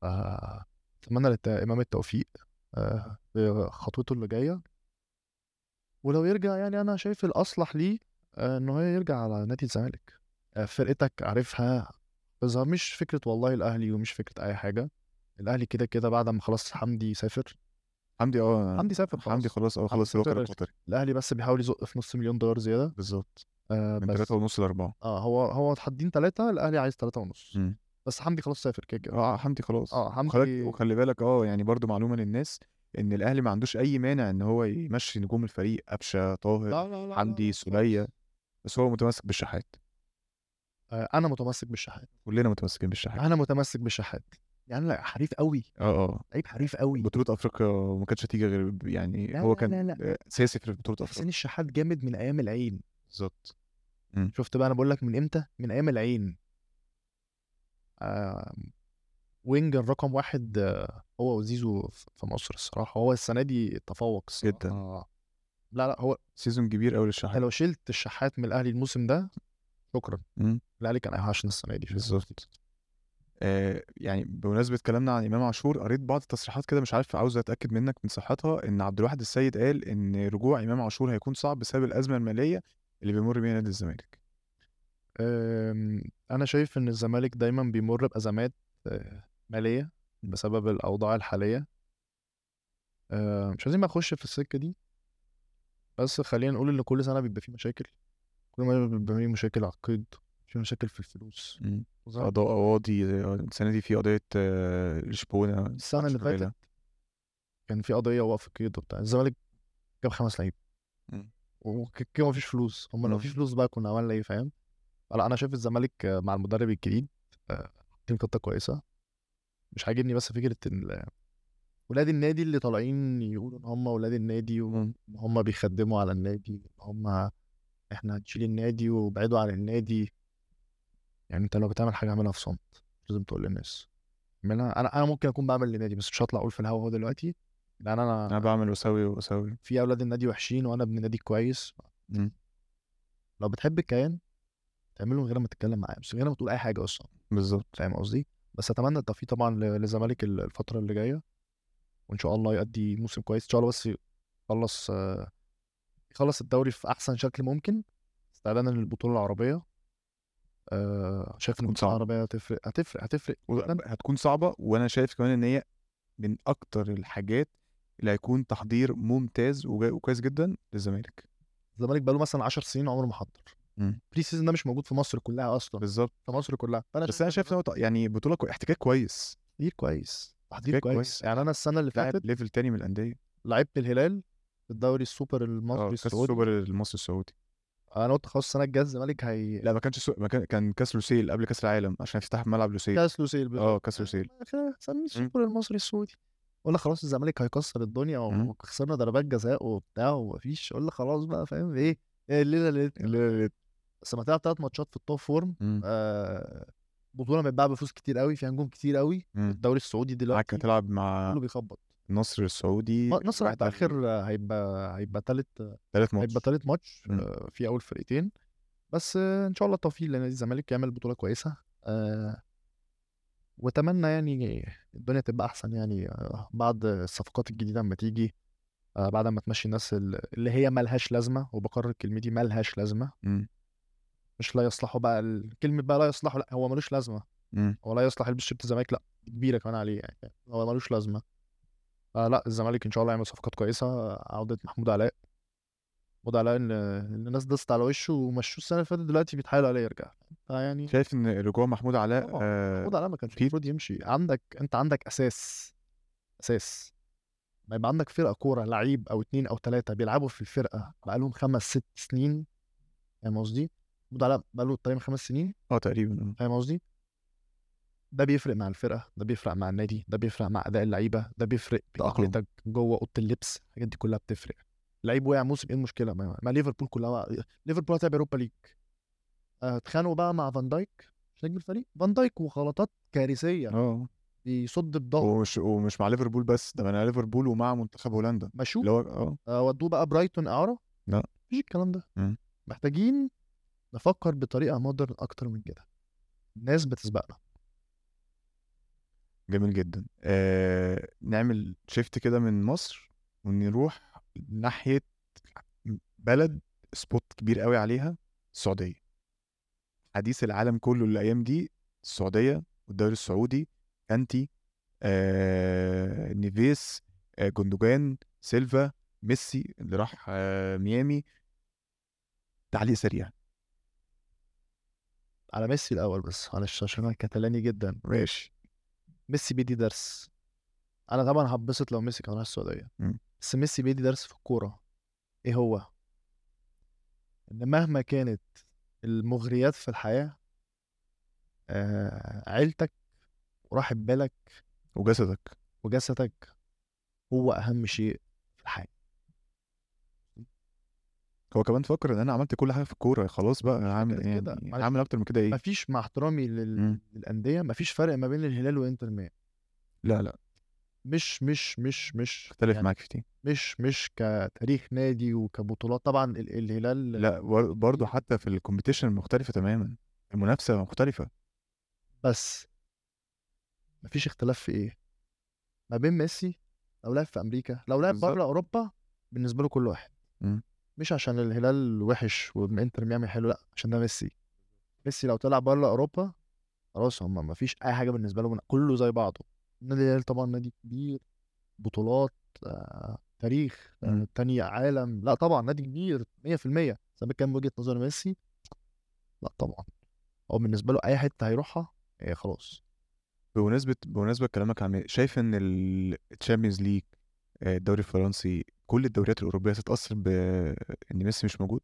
[SPEAKER 2] ف- اتمنى لامام التوفيق آه، في خطوته اللي جايه ولو يرجع يعني انا شايف الاصلح ليه آه، ان هو يرجع على نادي الزمالك آه، فرقتك عارفها بس مش فكره والله الاهلي ومش فكره اي حاجه الاهلي كده كده بعد ما خلاص حمدي سافر
[SPEAKER 1] حمدي اه
[SPEAKER 2] حمدي سافر خلاص
[SPEAKER 1] حمدي خلاص اه
[SPEAKER 2] حمدي
[SPEAKER 1] خلاص الوكر
[SPEAKER 2] سافر.
[SPEAKER 1] القطري
[SPEAKER 2] الاهلي بس بيحاول يزق في نص مليون دولار زياده
[SPEAKER 1] بالظبط
[SPEAKER 2] آه،
[SPEAKER 1] من
[SPEAKER 2] بس
[SPEAKER 1] تلاتة ونص لأربعة
[SPEAKER 2] اه هو هو حدين ثلاثه الاهلي عايز ثلاثه ونص
[SPEAKER 1] مم.
[SPEAKER 2] بس حمدي خلاص سافر كده كده
[SPEAKER 1] اه حمدي خلاص
[SPEAKER 2] اه
[SPEAKER 1] وخلي
[SPEAKER 2] حمدي
[SPEAKER 1] وخلي بالك اه يعني برضو معلومة للناس ان الاهلي ما عندوش اي مانع ان هو يمشي نجوم الفريق قفشة طاهر
[SPEAKER 2] لا لا لا
[SPEAKER 1] حمدي،
[SPEAKER 2] لا، خالص.
[SPEAKER 1] سولية. بس هو متمسك بالشحات
[SPEAKER 2] آه، انا متمسك بالشحات
[SPEAKER 1] كلنا متمسكين بالشحات
[SPEAKER 2] انا متمسك بالشحات يعني لا حريف قوي
[SPEAKER 1] اه اه
[SPEAKER 2] لعيب حريف قوي
[SPEAKER 1] بطولة افريقيا ما كانتش هتيجي غير ب- يعني
[SPEAKER 2] لا
[SPEAKER 1] هو
[SPEAKER 2] لا
[SPEAKER 1] كان
[SPEAKER 2] لا لا
[SPEAKER 1] آه، اساسي في بطولة افريقيا
[SPEAKER 2] حسين الشحات جامد من ايام العين
[SPEAKER 1] بالظبط
[SPEAKER 2] شفت بقى انا بقول لك من امتى من ايام العين آه وينج الرقم واحد آه هو وزيزو ف- في مصر الصراحه هو السنه دي تفوق الصراحه
[SPEAKER 1] جداً.
[SPEAKER 2] آه. لا لا هو
[SPEAKER 1] سيزون كبير قوي
[SPEAKER 2] انت
[SPEAKER 1] للشحات
[SPEAKER 2] لو شلت الشحات من الاهلي الموسم ده شكرا
[SPEAKER 1] مم.
[SPEAKER 2] الاهلي كان هيعشنا السنه دي
[SPEAKER 1] إمم. بالظبط آه يعني بمناسبة كلامنا عن إمام عاشور قريت بعض التصريحات كده مش عارف عاوز أتأكد منك من صحتها إن عبد الواحد السيد قال إن رجوع إمام عاشور هيكون صعب بسبب الأزمة المالية اللي بيمر بيها نادي الزمالك
[SPEAKER 2] آم، انا شايف ان الزمالك دايما بيمر بازمات آه، ماليه بسبب الاوضاع الحاليه آه، مش عايزين بقى نخش في السكه دي بس خلينا نقول ان كل سنه بيبقى فيه مشاكل كل ما بيبقى فيه مشاكل على القيد في مشاكل في الفلوس
[SPEAKER 1] مم.
[SPEAKER 2] وزي-
[SPEAKER 1] قضاء قواضي آه، السنة دي في قضية آه، لشبونة
[SPEAKER 2] السنه اللي
[SPEAKER 1] شغالة.
[SPEAKER 2] فاتت كان في قضيه وقف قيد وبتاع الزمالك جاب خمس لعيبه
[SPEAKER 1] مم.
[SPEAKER 2] وكده مفيش فلوس هم لو
[SPEAKER 1] مم.
[SPEAKER 2] في فلوس بقى كنا عملنا ايه فاهم لا انا شايف الزمالك آه، مع المدرب الجديد آه، حاطين خطه كويسه مش عاجبني بس فكره ان ولاد النادي اللي طالعين يقولوا ان هم ولاد النادي وهم
[SPEAKER 1] مم.
[SPEAKER 2] بيخدموا على النادي هم احنا هنشيل النادي وبعدوا عن النادي يعني انت لو بتعمل حاجه اعملها في صمت لازم تقول للناس يعني اعملها انا انا ممكن اكون بعمل لنادي بس مش هطلع اقول في الهوا هو دلوقتي يعني لان
[SPEAKER 1] انا
[SPEAKER 2] انا
[SPEAKER 1] بعمل واسوي واسوي
[SPEAKER 2] في اولاد النادي وحشين وانا ابن نادي كويس
[SPEAKER 1] مم.
[SPEAKER 2] لو بتحب الكيان تعمله من غير ما تتكلم معاه بس من غير ما تقول اي حاجه اصلا
[SPEAKER 1] بالظبط
[SPEAKER 2] فاهم قصدي بس اتمنى التوفيق طبعا ل- للزمالك ال- الفتره اللي جايه وان شاء الله يؤدي موسم كويس ان شاء الله بس يخلص آه، يخلص الدوري في احسن شكل ممكن استعدادا للبطوله العربيه آه، شايف ان
[SPEAKER 1] هتكون
[SPEAKER 2] البطوله
[SPEAKER 1] صعبة.
[SPEAKER 2] العربيه هتفرق هتفرق هتفرق جدا
[SPEAKER 1] و- هتكون صعبه وانا شايف كمان ان هي من اكتر الحاجات اللي هيكون تحضير ممتاز وجا- وكويس جدا للزمالك
[SPEAKER 2] الزمالك بقاله مثلا 10 سنين عمره ما حضر
[SPEAKER 1] مم.
[SPEAKER 2] بري سيزون ده مش موجود في مصر كلها اصلا
[SPEAKER 1] بالظبط
[SPEAKER 2] في مصر كلها فانا
[SPEAKER 1] بس انا شايف ان هو ط- يعني بطوله كو... احتكاك كويس
[SPEAKER 2] تحضير كويس تحضير
[SPEAKER 1] تحضير
[SPEAKER 2] كويس.
[SPEAKER 1] كويس.
[SPEAKER 2] كويس يعني انا السنه اللي
[SPEAKER 1] لاعب
[SPEAKER 2] فاتت
[SPEAKER 1] ليفل تاني من الانديه
[SPEAKER 2] لعبت الهلال في الدوري السوبر
[SPEAKER 1] اه
[SPEAKER 2] المصري
[SPEAKER 1] كاس
[SPEAKER 2] السعودي
[SPEAKER 1] السوبر المصري السعودي
[SPEAKER 2] انا قلت خلاص السنه الجايه الزمالك هي
[SPEAKER 1] لا ما كانش سو... ما كان... كان كاس لوسيل قبل كاس العالم عشان افتتاح ملعب لوسيل
[SPEAKER 2] كاس لوسيل بالظبط.
[SPEAKER 1] اه كاس لوسيل
[SPEAKER 2] آخر- سميه السوبر المصري السعودي قلنا خلاص الزمالك هيكسر الدنيا
[SPEAKER 1] مم.
[SPEAKER 2] وخسرنا ضربات جزاء وبتاع ومفيش قلنا خلاص بقى فاهم ايه إيه الليله اللي
[SPEAKER 1] لا
[SPEAKER 2] بس لما تلعب ثلاث ماتشات في التوب فورم
[SPEAKER 1] لا
[SPEAKER 2] آه بطوله متباع بفلوس كتير قوي فيها نجوم كتير قوي الدوري السعودي
[SPEAKER 1] امم. معاك
[SPEAKER 2] دلوقتي
[SPEAKER 1] هتلعب مع
[SPEAKER 2] كله بيخبط
[SPEAKER 1] النصر السعودي
[SPEAKER 2] ما- نصر هيبقى اخر آه، هيبقى هيبقى تالت آه،
[SPEAKER 1] ثالث ماتش
[SPEAKER 2] هيبقى تالت ماتش
[SPEAKER 1] مم.
[SPEAKER 2] آه، في اول فرقتين بس آه، ان شاء الله التوفيق لنادي الزمالك يعمل بطوله كويسه آه، واتمنى يعني الدنيا تبقى احسن يعني آه، بعد الصفقات الجديده اما تيجي آه، بعد ما تمشي الناس ال- اللي هي ملهاش لازمه وبكرر كلمتي ملهاش لازمه
[SPEAKER 1] مم.
[SPEAKER 2] مش لا يصلحوا بقى ال- كلمه بقى لا يصلحوا لا هو ملوش لازمه
[SPEAKER 1] مم.
[SPEAKER 2] هو لا يصلح يلبس شبت الزمالك لا كبيره كمان عليه يعني هو ملوش لازمه آه لا الزمالك ان شاء الله يعمل صفقات كويسه آه، عوده محمود علاء محمود علاء ان إن الناس دست على وشه ومشوه السنه اللي فاتت دلوقتي بيتحايل عليه يرجع فيعني
[SPEAKER 1] شايف ان رجوع محمود علاء
[SPEAKER 2] طبعاً.
[SPEAKER 1] آه...
[SPEAKER 2] محمود علاء ما كانش
[SPEAKER 1] أكيد.
[SPEAKER 2] المفروض يمشي عندك انت عندك اساس اساس ما يبقى عندك فرقه كوره لعيب او اتنين او تلاته بيلعبوا في الفرقه بقالهم خمس ست سنين فاهم قصدي؟ محمود علاء بقاله تقريبا خمس سنين
[SPEAKER 1] اه تقريبا
[SPEAKER 2] فاهم قصدي؟ ده بيفرق مع الفرقه ده بيفرق مع النادي ده بيفرق مع اداء اللعيبه ده بيفرق
[SPEAKER 1] تأقلم.
[SPEAKER 2] بتاقلمتك جوه اوضه اللبس الحاجات دي كلها بتفرق لعيب وقع موسم ايه المشكله ما, ما ليفربول كلها وقع. ليفربول هتلعب اوروبا ليج آه، اتخانقوا بقى مع فان دايك مش نجم الفريق فان دايك وغلطات كارثيه
[SPEAKER 1] اه
[SPEAKER 2] بيصد بضغط
[SPEAKER 1] ومش ومش مع ليفربول بس ده مع ليفربول ومع منتخب هولندا
[SPEAKER 2] مشوه
[SPEAKER 1] اللي هو اه
[SPEAKER 2] آه، ودوه بقى برايتون اعاره
[SPEAKER 1] لا.
[SPEAKER 2] مفيش الكلام ده
[SPEAKER 1] مم.
[SPEAKER 2] محتاجين نفكر بطريقه مودرن اكتر من كده الناس بتسبقنا
[SPEAKER 1] جميل جدا آه... نعمل شيفت كده من مصر ونروح ناحية بلد سبوت كبير قوي عليها السعودية حديث العالم كله الايام دي السعوديه والدوري السعودي كانتي آه نيفيس آه جندوجان سيلفا ميسي اللي راح آه ميامي تعليق سريع
[SPEAKER 2] على ميسي الاول بس معلش عشان انا كتالاني جدا
[SPEAKER 1] ماشي
[SPEAKER 2] ميسي بيدي درس انا طبعا هتبسط لو ميسي كان راح السعوديه
[SPEAKER 1] مم.
[SPEAKER 2] بس ميسي بيدي درس في الكوره ايه هو ان مهما كانت المغريات في الحياه آه عيلتك وراحب بالك
[SPEAKER 1] وجسدك
[SPEAKER 2] وجسدك هو اهم شيء في الحياه
[SPEAKER 1] هو كمان فكر ان انا عملت كل حاجه في الكوره خلاص بقى انا عامل
[SPEAKER 2] فكرة
[SPEAKER 1] يعني
[SPEAKER 2] كده. معلش.
[SPEAKER 1] عامل اكتر من كده ايه
[SPEAKER 2] مفيش مع احترامي لل...
[SPEAKER 1] مم.
[SPEAKER 2] للانديه مفيش فرق ما بين الهلال وانتر ميامي
[SPEAKER 1] لا لا
[SPEAKER 2] مش مش مش مش
[SPEAKER 1] اختلف
[SPEAKER 2] يعني
[SPEAKER 1] معاك في دي
[SPEAKER 2] مش مش كتاريخ نادي وكبطولات طبعا ال- الهلال
[SPEAKER 1] لا بر- برضو حتى في الكومبيتيشن مختلفه تماما المنافسه مختلفه
[SPEAKER 2] بس مفيش اختلاف في ايه ما بين ميسي لو لعب في امريكا لو لعب
[SPEAKER 1] بالظبط.
[SPEAKER 2] بره اوروبا بالنسبه له كل واحد
[SPEAKER 1] مم.
[SPEAKER 2] مش عشان الهلال وحش والانتر ميامي حلو لا عشان ده ميسي ميسي لو طلع بره اوروبا خلاص هم مفيش اي حاجه بالنسبه لهم كله زي بعضه نادي الهلال طبعا نادي كبير بطولات آه، تاريخ
[SPEAKER 1] مم.
[SPEAKER 2] آه، تاني عالم لا طبعا نادي كبير 100% زي ما كان وجهه نظر ميسي لا طبعا هو بالنسبه له اي حته هيروحها
[SPEAKER 1] إيه،
[SPEAKER 2] هي خلاص
[SPEAKER 1] بمناسبة بمناسبة كلامك عن شايف ان الشامبيونز ليج آه، الدوري الفرنسي كل الدوريات الأوروبية هتتأثر بإن ميسي مش موجود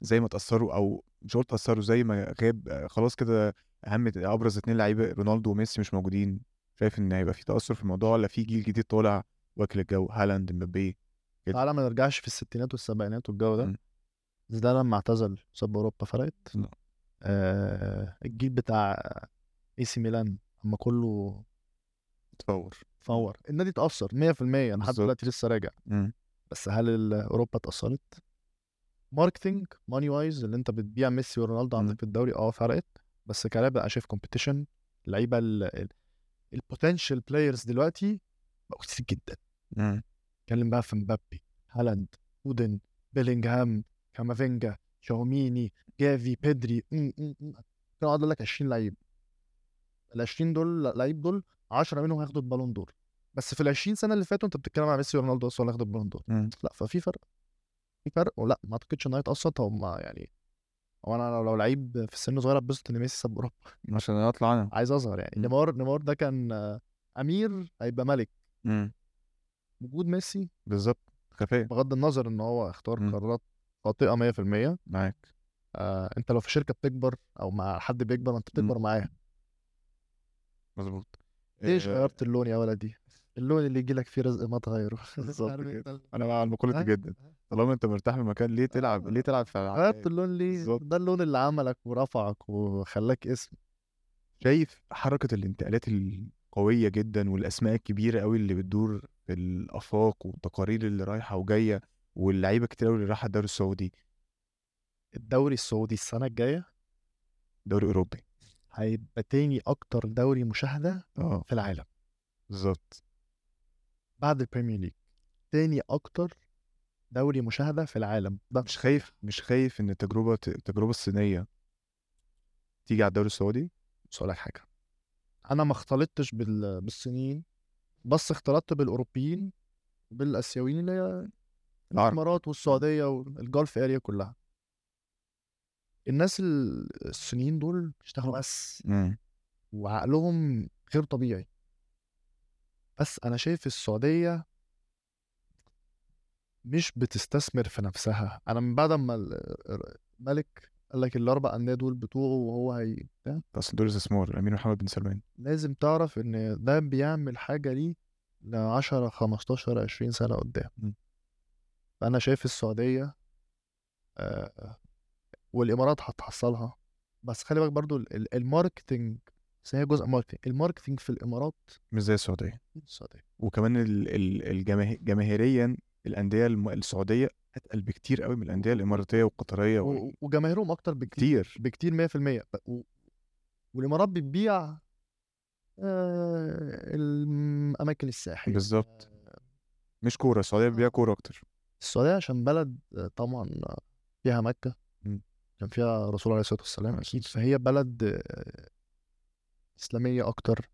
[SPEAKER 1] زي ما تأثروا أو مش هقول تأثروا زي ما غاب آه، خلاص كده أهم أبرز اتنين لعيبة رونالدو وميسي مش موجودين شايف ان هيبقى في تأثر في الموضوع ولا في جيل جديد طالع واكل الجو هالاند مبابي كده.
[SPEAKER 2] تعالى ما نرجعش في الستينات والسبعينات والجو ده
[SPEAKER 1] مم.
[SPEAKER 2] زيدان لما اعتزل ساب اوروبا فرقت
[SPEAKER 1] لا.
[SPEAKER 2] آه الجيل بتاع اي سي ميلان اما كله
[SPEAKER 1] تفور
[SPEAKER 2] فور النادي اتاثر 100% انا لحد
[SPEAKER 1] بالظبط.
[SPEAKER 2] دلوقتي لسه راجع
[SPEAKER 1] مم.
[SPEAKER 2] بس هل ال- اوروبا اتاثرت؟ ماركتنج ماني وايز اللي انت بتبيع ميسي ورونالدو
[SPEAKER 1] مم.
[SPEAKER 2] عندك في الدوري اه فرقت بس كلاعب انا شايف كومبيتيشن اللعيبه البوتنشال بلايرز دلوقتي بقوا كتير جدا
[SPEAKER 1] مم.
[SPEAKER 2] اتكلم بقى في مبابي هالاند اودن بيلينغهام كامافينجا شاوميني جافي بيدري م- م- م. كان اقعد اقول لك 20 لعيب ال 20 دول لعيب دول 10 منهم هياخدوا البالون دور بس في ال 20 سنه اللي فاتوا انت بتتكلم على ميسي ورونالدو بس ولا هياخدوا البالون دور
[SPEAKER 1] مم.
[SPEAKER 2] لا ففي فرق في فرق ولا ما اعتقدش ان هي اتقصت هم يعني هو انا لو- لو لعيب في سن صغير اتبسط ان ميسي ساب اوروبا
[SPEAKER 1] عشان اطلع انا
[SPEAKER 2] عايز اظهر يعني
[SPEAKER 1] مم.
[SPEAKER 2] نيمار نيمار ده كان آه، امير هيبقى ملك
[SPEAKER 1] مم.
[SPEAKER 2] وجود ميسي
[SPEAKER 1] بالظبط خفيه
[SPEAKER 2] بغض النظر ان هو اختار
[SPEAKER 1] مم.
[SPEAKER 2] قرارات خاطئه 100%
[SPEAKER 1] معاك
[SPEAKER 2] آه انت لو في شركه بتكبر او مع حد بيكبر ما انت بتكبر معاه
[SPEAKER 1] مظبوط
[SPEAKER 2] ليش
[SPEAKER 1] آه،
[SPEAKER 2] غيرت اللون يا ولدي اللون اللي يجي لك فيه رزق ما تغيره
[SPEAKER 1] بالظبط
[SPEAKER 2] عارف
[SPEAKER 1] كده.
[SPEAKER 2] أنت ال-
[SPEAKER 1] انا مع المقوله دي
[SPEAKER 2] آه،
[SPEAKER 1] جدا طالما انت مرتاح في مكان ليه تلعب
[SPEAKER 2] آه.
[SPEAKER 1] ليه تلعب في العقاد؟
[SPEAKER 2] غيرت اللون ليه
[SPEAKER 1] إيه. بالظبط.
[SPEAKER 2] ده اللون اللي عملك ورفعك وخلاك اسم
[SPEAKER 1] شايف حركة الانتقالات القوية جدا والأسماء الكبيرة قوي اللي بتدور في الآفاق والتقارير اللي رايحة وجاية واللعيبة كتير قوي اللي رايحة الدوري السعودي
[SPEAKER 2] الدوري السعودي السنه الجايه
[SPEAKER 1] دوري أوروبي
[SPEAKER 2] هيبقى تاني اكتر دوري مشاهده
[SPEAKER 1] اه
[SPEAKER 2] في العالم
[SPEAKER 1] بالظبط
[SPEAKER 2] بعد البريمير ليج تاني اكتر دوري مشاهده في العالم ده
[SPEAKER 1] مش خايف مش خايف إن التجربة التجربة الصينية تيجي على الدوري السعودي
[SPEAKER 2] بس أقول لك حاجه انا ما اختلطتش بال... بالصينيين بس اختلطت بالاوروبيين بالاسيويين اللي هي
[SPEAKER 1] العرب
[SPEAKER 2] الامارات والسعوديه والجولف اريا كلها الناس ال- الصينيين دول بيشتغلوا بس
[SPEAKER 1] مم.
[SPEAKER 2] وعقلهم غير طبيعي بس انا شايف السعوديه مش بتستثمر في نفسها انا من بعد ما ال- مالك قال لك الاربع انديه دول بتوعه وهو هي بتاع،
[SPEAKER 1] بس دول استثمار الأمير محمد بن سلمان
[SPEAKER 2] لازم تعرف ان ده بيعمل حاجه ليه ل 10 15 20 سنه قدام
[SPEAKER 1] مم.
[SPEAKER 2] فانا شايف السعوديه آه، والامارات هتحصلها بس خلي بالك برضو ال- ال- الماركتنج بس هي جزء ماركتنج الماركتنج في الامارات
[SPEAKER 1] مش زي السعودية
[SPEAKER 2] السعوديه
[SPEAKER 1] وكمان ال- ال- الجماه- جماهيريا الأندية الم- السعودية أتقل بكتير قوي من
[SPEAKER 2] آه.
[SPEAKER 1] الأندية الإماراتية والقطرية وال-
[SPEAKER 2] و- وجماهيرهم اكتر بكتير
[SPEAKER 1] كتير
[SPEAKER 2] بكتير 100% ب- و- والامارات بتبيع آه، الاماكن السياحيه
[SPEAKER 1] بالظبط.
[SPEAKER 2] آه،
[SPEAKER 1] مش كورة السعودية بتبيع كورة أكتر
[SPEAKER 2] السعوديه عشان بلد آه، طبعا آه، فيها مكه
[SPEAKER 1] مم.
[SPEAKER 2] كان فيها الرسول عليه الصلاه والسلام
[SPEAKER 1] عليه
[SPEAKER 2] اكيد
[SPEAKER 1] الصلاة
[SPEAKER 2] فهي بلد آه، اسلاميه اكتر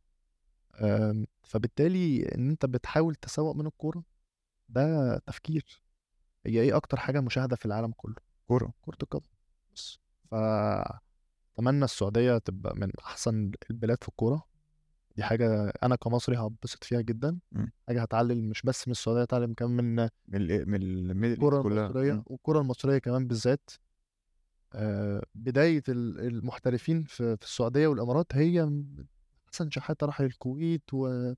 [SPEAKER 2] آم، آمم، فبالتالي ان انت بتحاول تسوق من الكوره ده تفكير هي ايه اكتر حاجه مشاهده في العالم كله
[SPEAKER 1] كورة
[SPEAKER 2] كره القدم بس فاتمنى السعوديه تبقى من احسن البلاد في الكوره دي حاجه انا كمصري هتبسط فيها جدا
[SPEAKER 1] مم.
[SPEAKER 2] حاجه هتعلم مش بس من السعوديه هتعلم كمان من
[SPEAKER 1] من ال من ال من
[SPEAKER 2] الكره
[SPEAKER 1] ال كلها
[SPEAKER 2] المصريه
[SPEAKER 1] مم.
[SPEAKER 2] والكره المصريه كمان بالذات آه، بدايه ال- المحترفين في في السعوديه والامارات هي من احسن شحاته راح الكويت و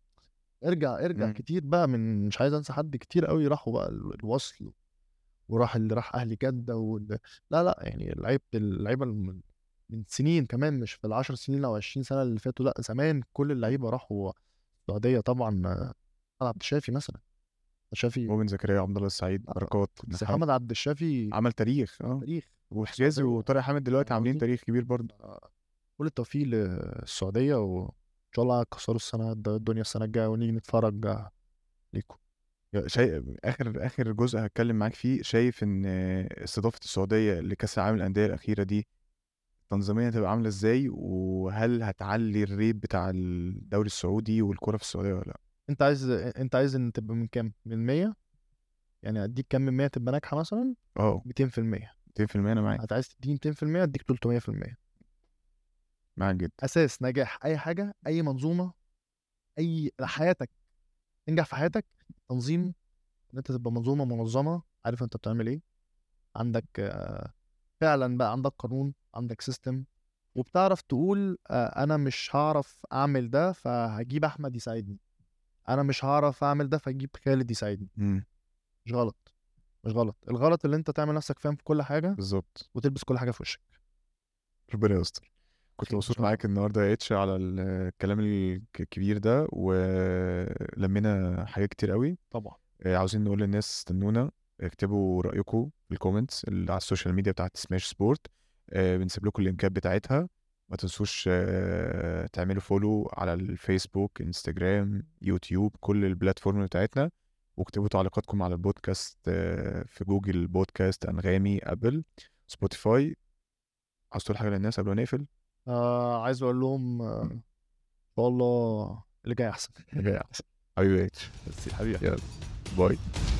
[SPEAKER 2] ارجع ارجع
[SPEAKER 1] مم.
[SPEAKER 2] كتير بقى من مش عايز انسى حد كتير قوي راحوا بقى ال- الوصل وراح اللي راح اهلي جده وال... لا لا يعني اللعيب اللعيبه الم- من سنين كمان مش في العشر سنين او 20 سنه اللي فاتوا لا زمان كل اللعيبه راحوا السعوديه طبعا آه، عبد الشافي مثلا عبد الشافي
[SPEAKER 1] مؤمن زكريا عبد الله السعيد
[SPEAKER 2] آه،
[SPEAKER 1] بركات
[SPEAKER 2] زي
[SPEAKER 1] نحاس.
[SPEAKER 2] محمد عبد الشافي
[SPEAKER 1] عمل تاريخ اه
[SPEAKER 2] تاريخ
[SPEAKER 1] وحجازي
[SPEAKER 2] السعودية.
[SPEAKER 1] وطارق حامد دلوقتي
[SPEAKER 2] فاهم
[SPEAKER 1] عاملين
[SPEAKER 2] قصدي؟
[SPEAKER 1] تاريخ كبير برضه
[SPEAKER 2] آه، كل التوفيق للسعوديه وان شاء الله هيكسروا السنه الدنيا السنه الجايه ونيجي نتفرج آه، ليكم
[SPEAKER 1] يا- شايف اخر اخر جزء هتكلم معاك فيه شايف ان آه، استضافه السعوديه لكاس العالم للانديه الاخيره دي تنظيميا هتبقى عامله ازاي وهل هتعلي الريت بتاع الدوري السعودي والكوره في السعوديه ولا لا
[SPEAKER 2] انت عايز انت عايز ان تبقى من كام من 100 يعني اديك كام من 100 تبقى ناجحه مثلا
[SPEAKER 1] اه
[SPEAKER 2] 200%
[SPEAKER 1] 200% انا معاك
[SPEAKER 2] انت عايز تديني 200% اديك 300%
[SPEAKER 1] معاك جدا
[SPEAKER 2] اساس نجاح اي حاجه اي منظومه اي حياتك تنجح في حياتك تنظيم ان انت تبقى منظومه منظمه عارف انت بتعمل ايه عندك آه، فعلا بقى عندك قانون عندك سيستم وبتعرف تقول آه، انا مش هعرف اعمل ده فهجيب احمد يساعدني انا مش هعرف اعمل ده فهجيب خالد يساعدني
[SPEAKER 1] مم.
[SPEAKER 2] مش غلط مش غلط الغلط اللي انت تعمل نفسك فاهم في كل حاجه
[SPEAKER 1] بالظبط
[SPEAKER 2] وتلبس كل حاجه في وشك
[SPEAKER 1] ربنا يستر كنت مبسوط معاك النهارده يا اتش على ال- الكلام الك- الكبير ده ولمينا حاجات كتير قوي
[SPEAKER 2] طبعا
[SPEAKER 1] آه، عاوزين نقول للناس استنونا اكتبوا رايكم في الكومنتس اللي على السوشيال ميديا بتاعت سماش سبورت آه، بنسيب لكم اللينكات بتاعتها ما تنسوش آه، تعملوا فولو على الفيسبوك انستجرام يوتيوب كل البلاتفورم بتاعتنا واكتبوا تعليقاتكم على البودكاست آه، في جوجل بودكاست انغامي ابل سبوتيفاي عاوز تقول حاجه للناس قبل ما نقفل
[SPEAKER 2] آه عايز اقول لهم آه، ان شاء
[SPEAKER 1] أيوة
[SPEAKER 2] الله اللي جاي احسن
[SPEAKER 1] حبيبي حبيبي حبيبي يلا باي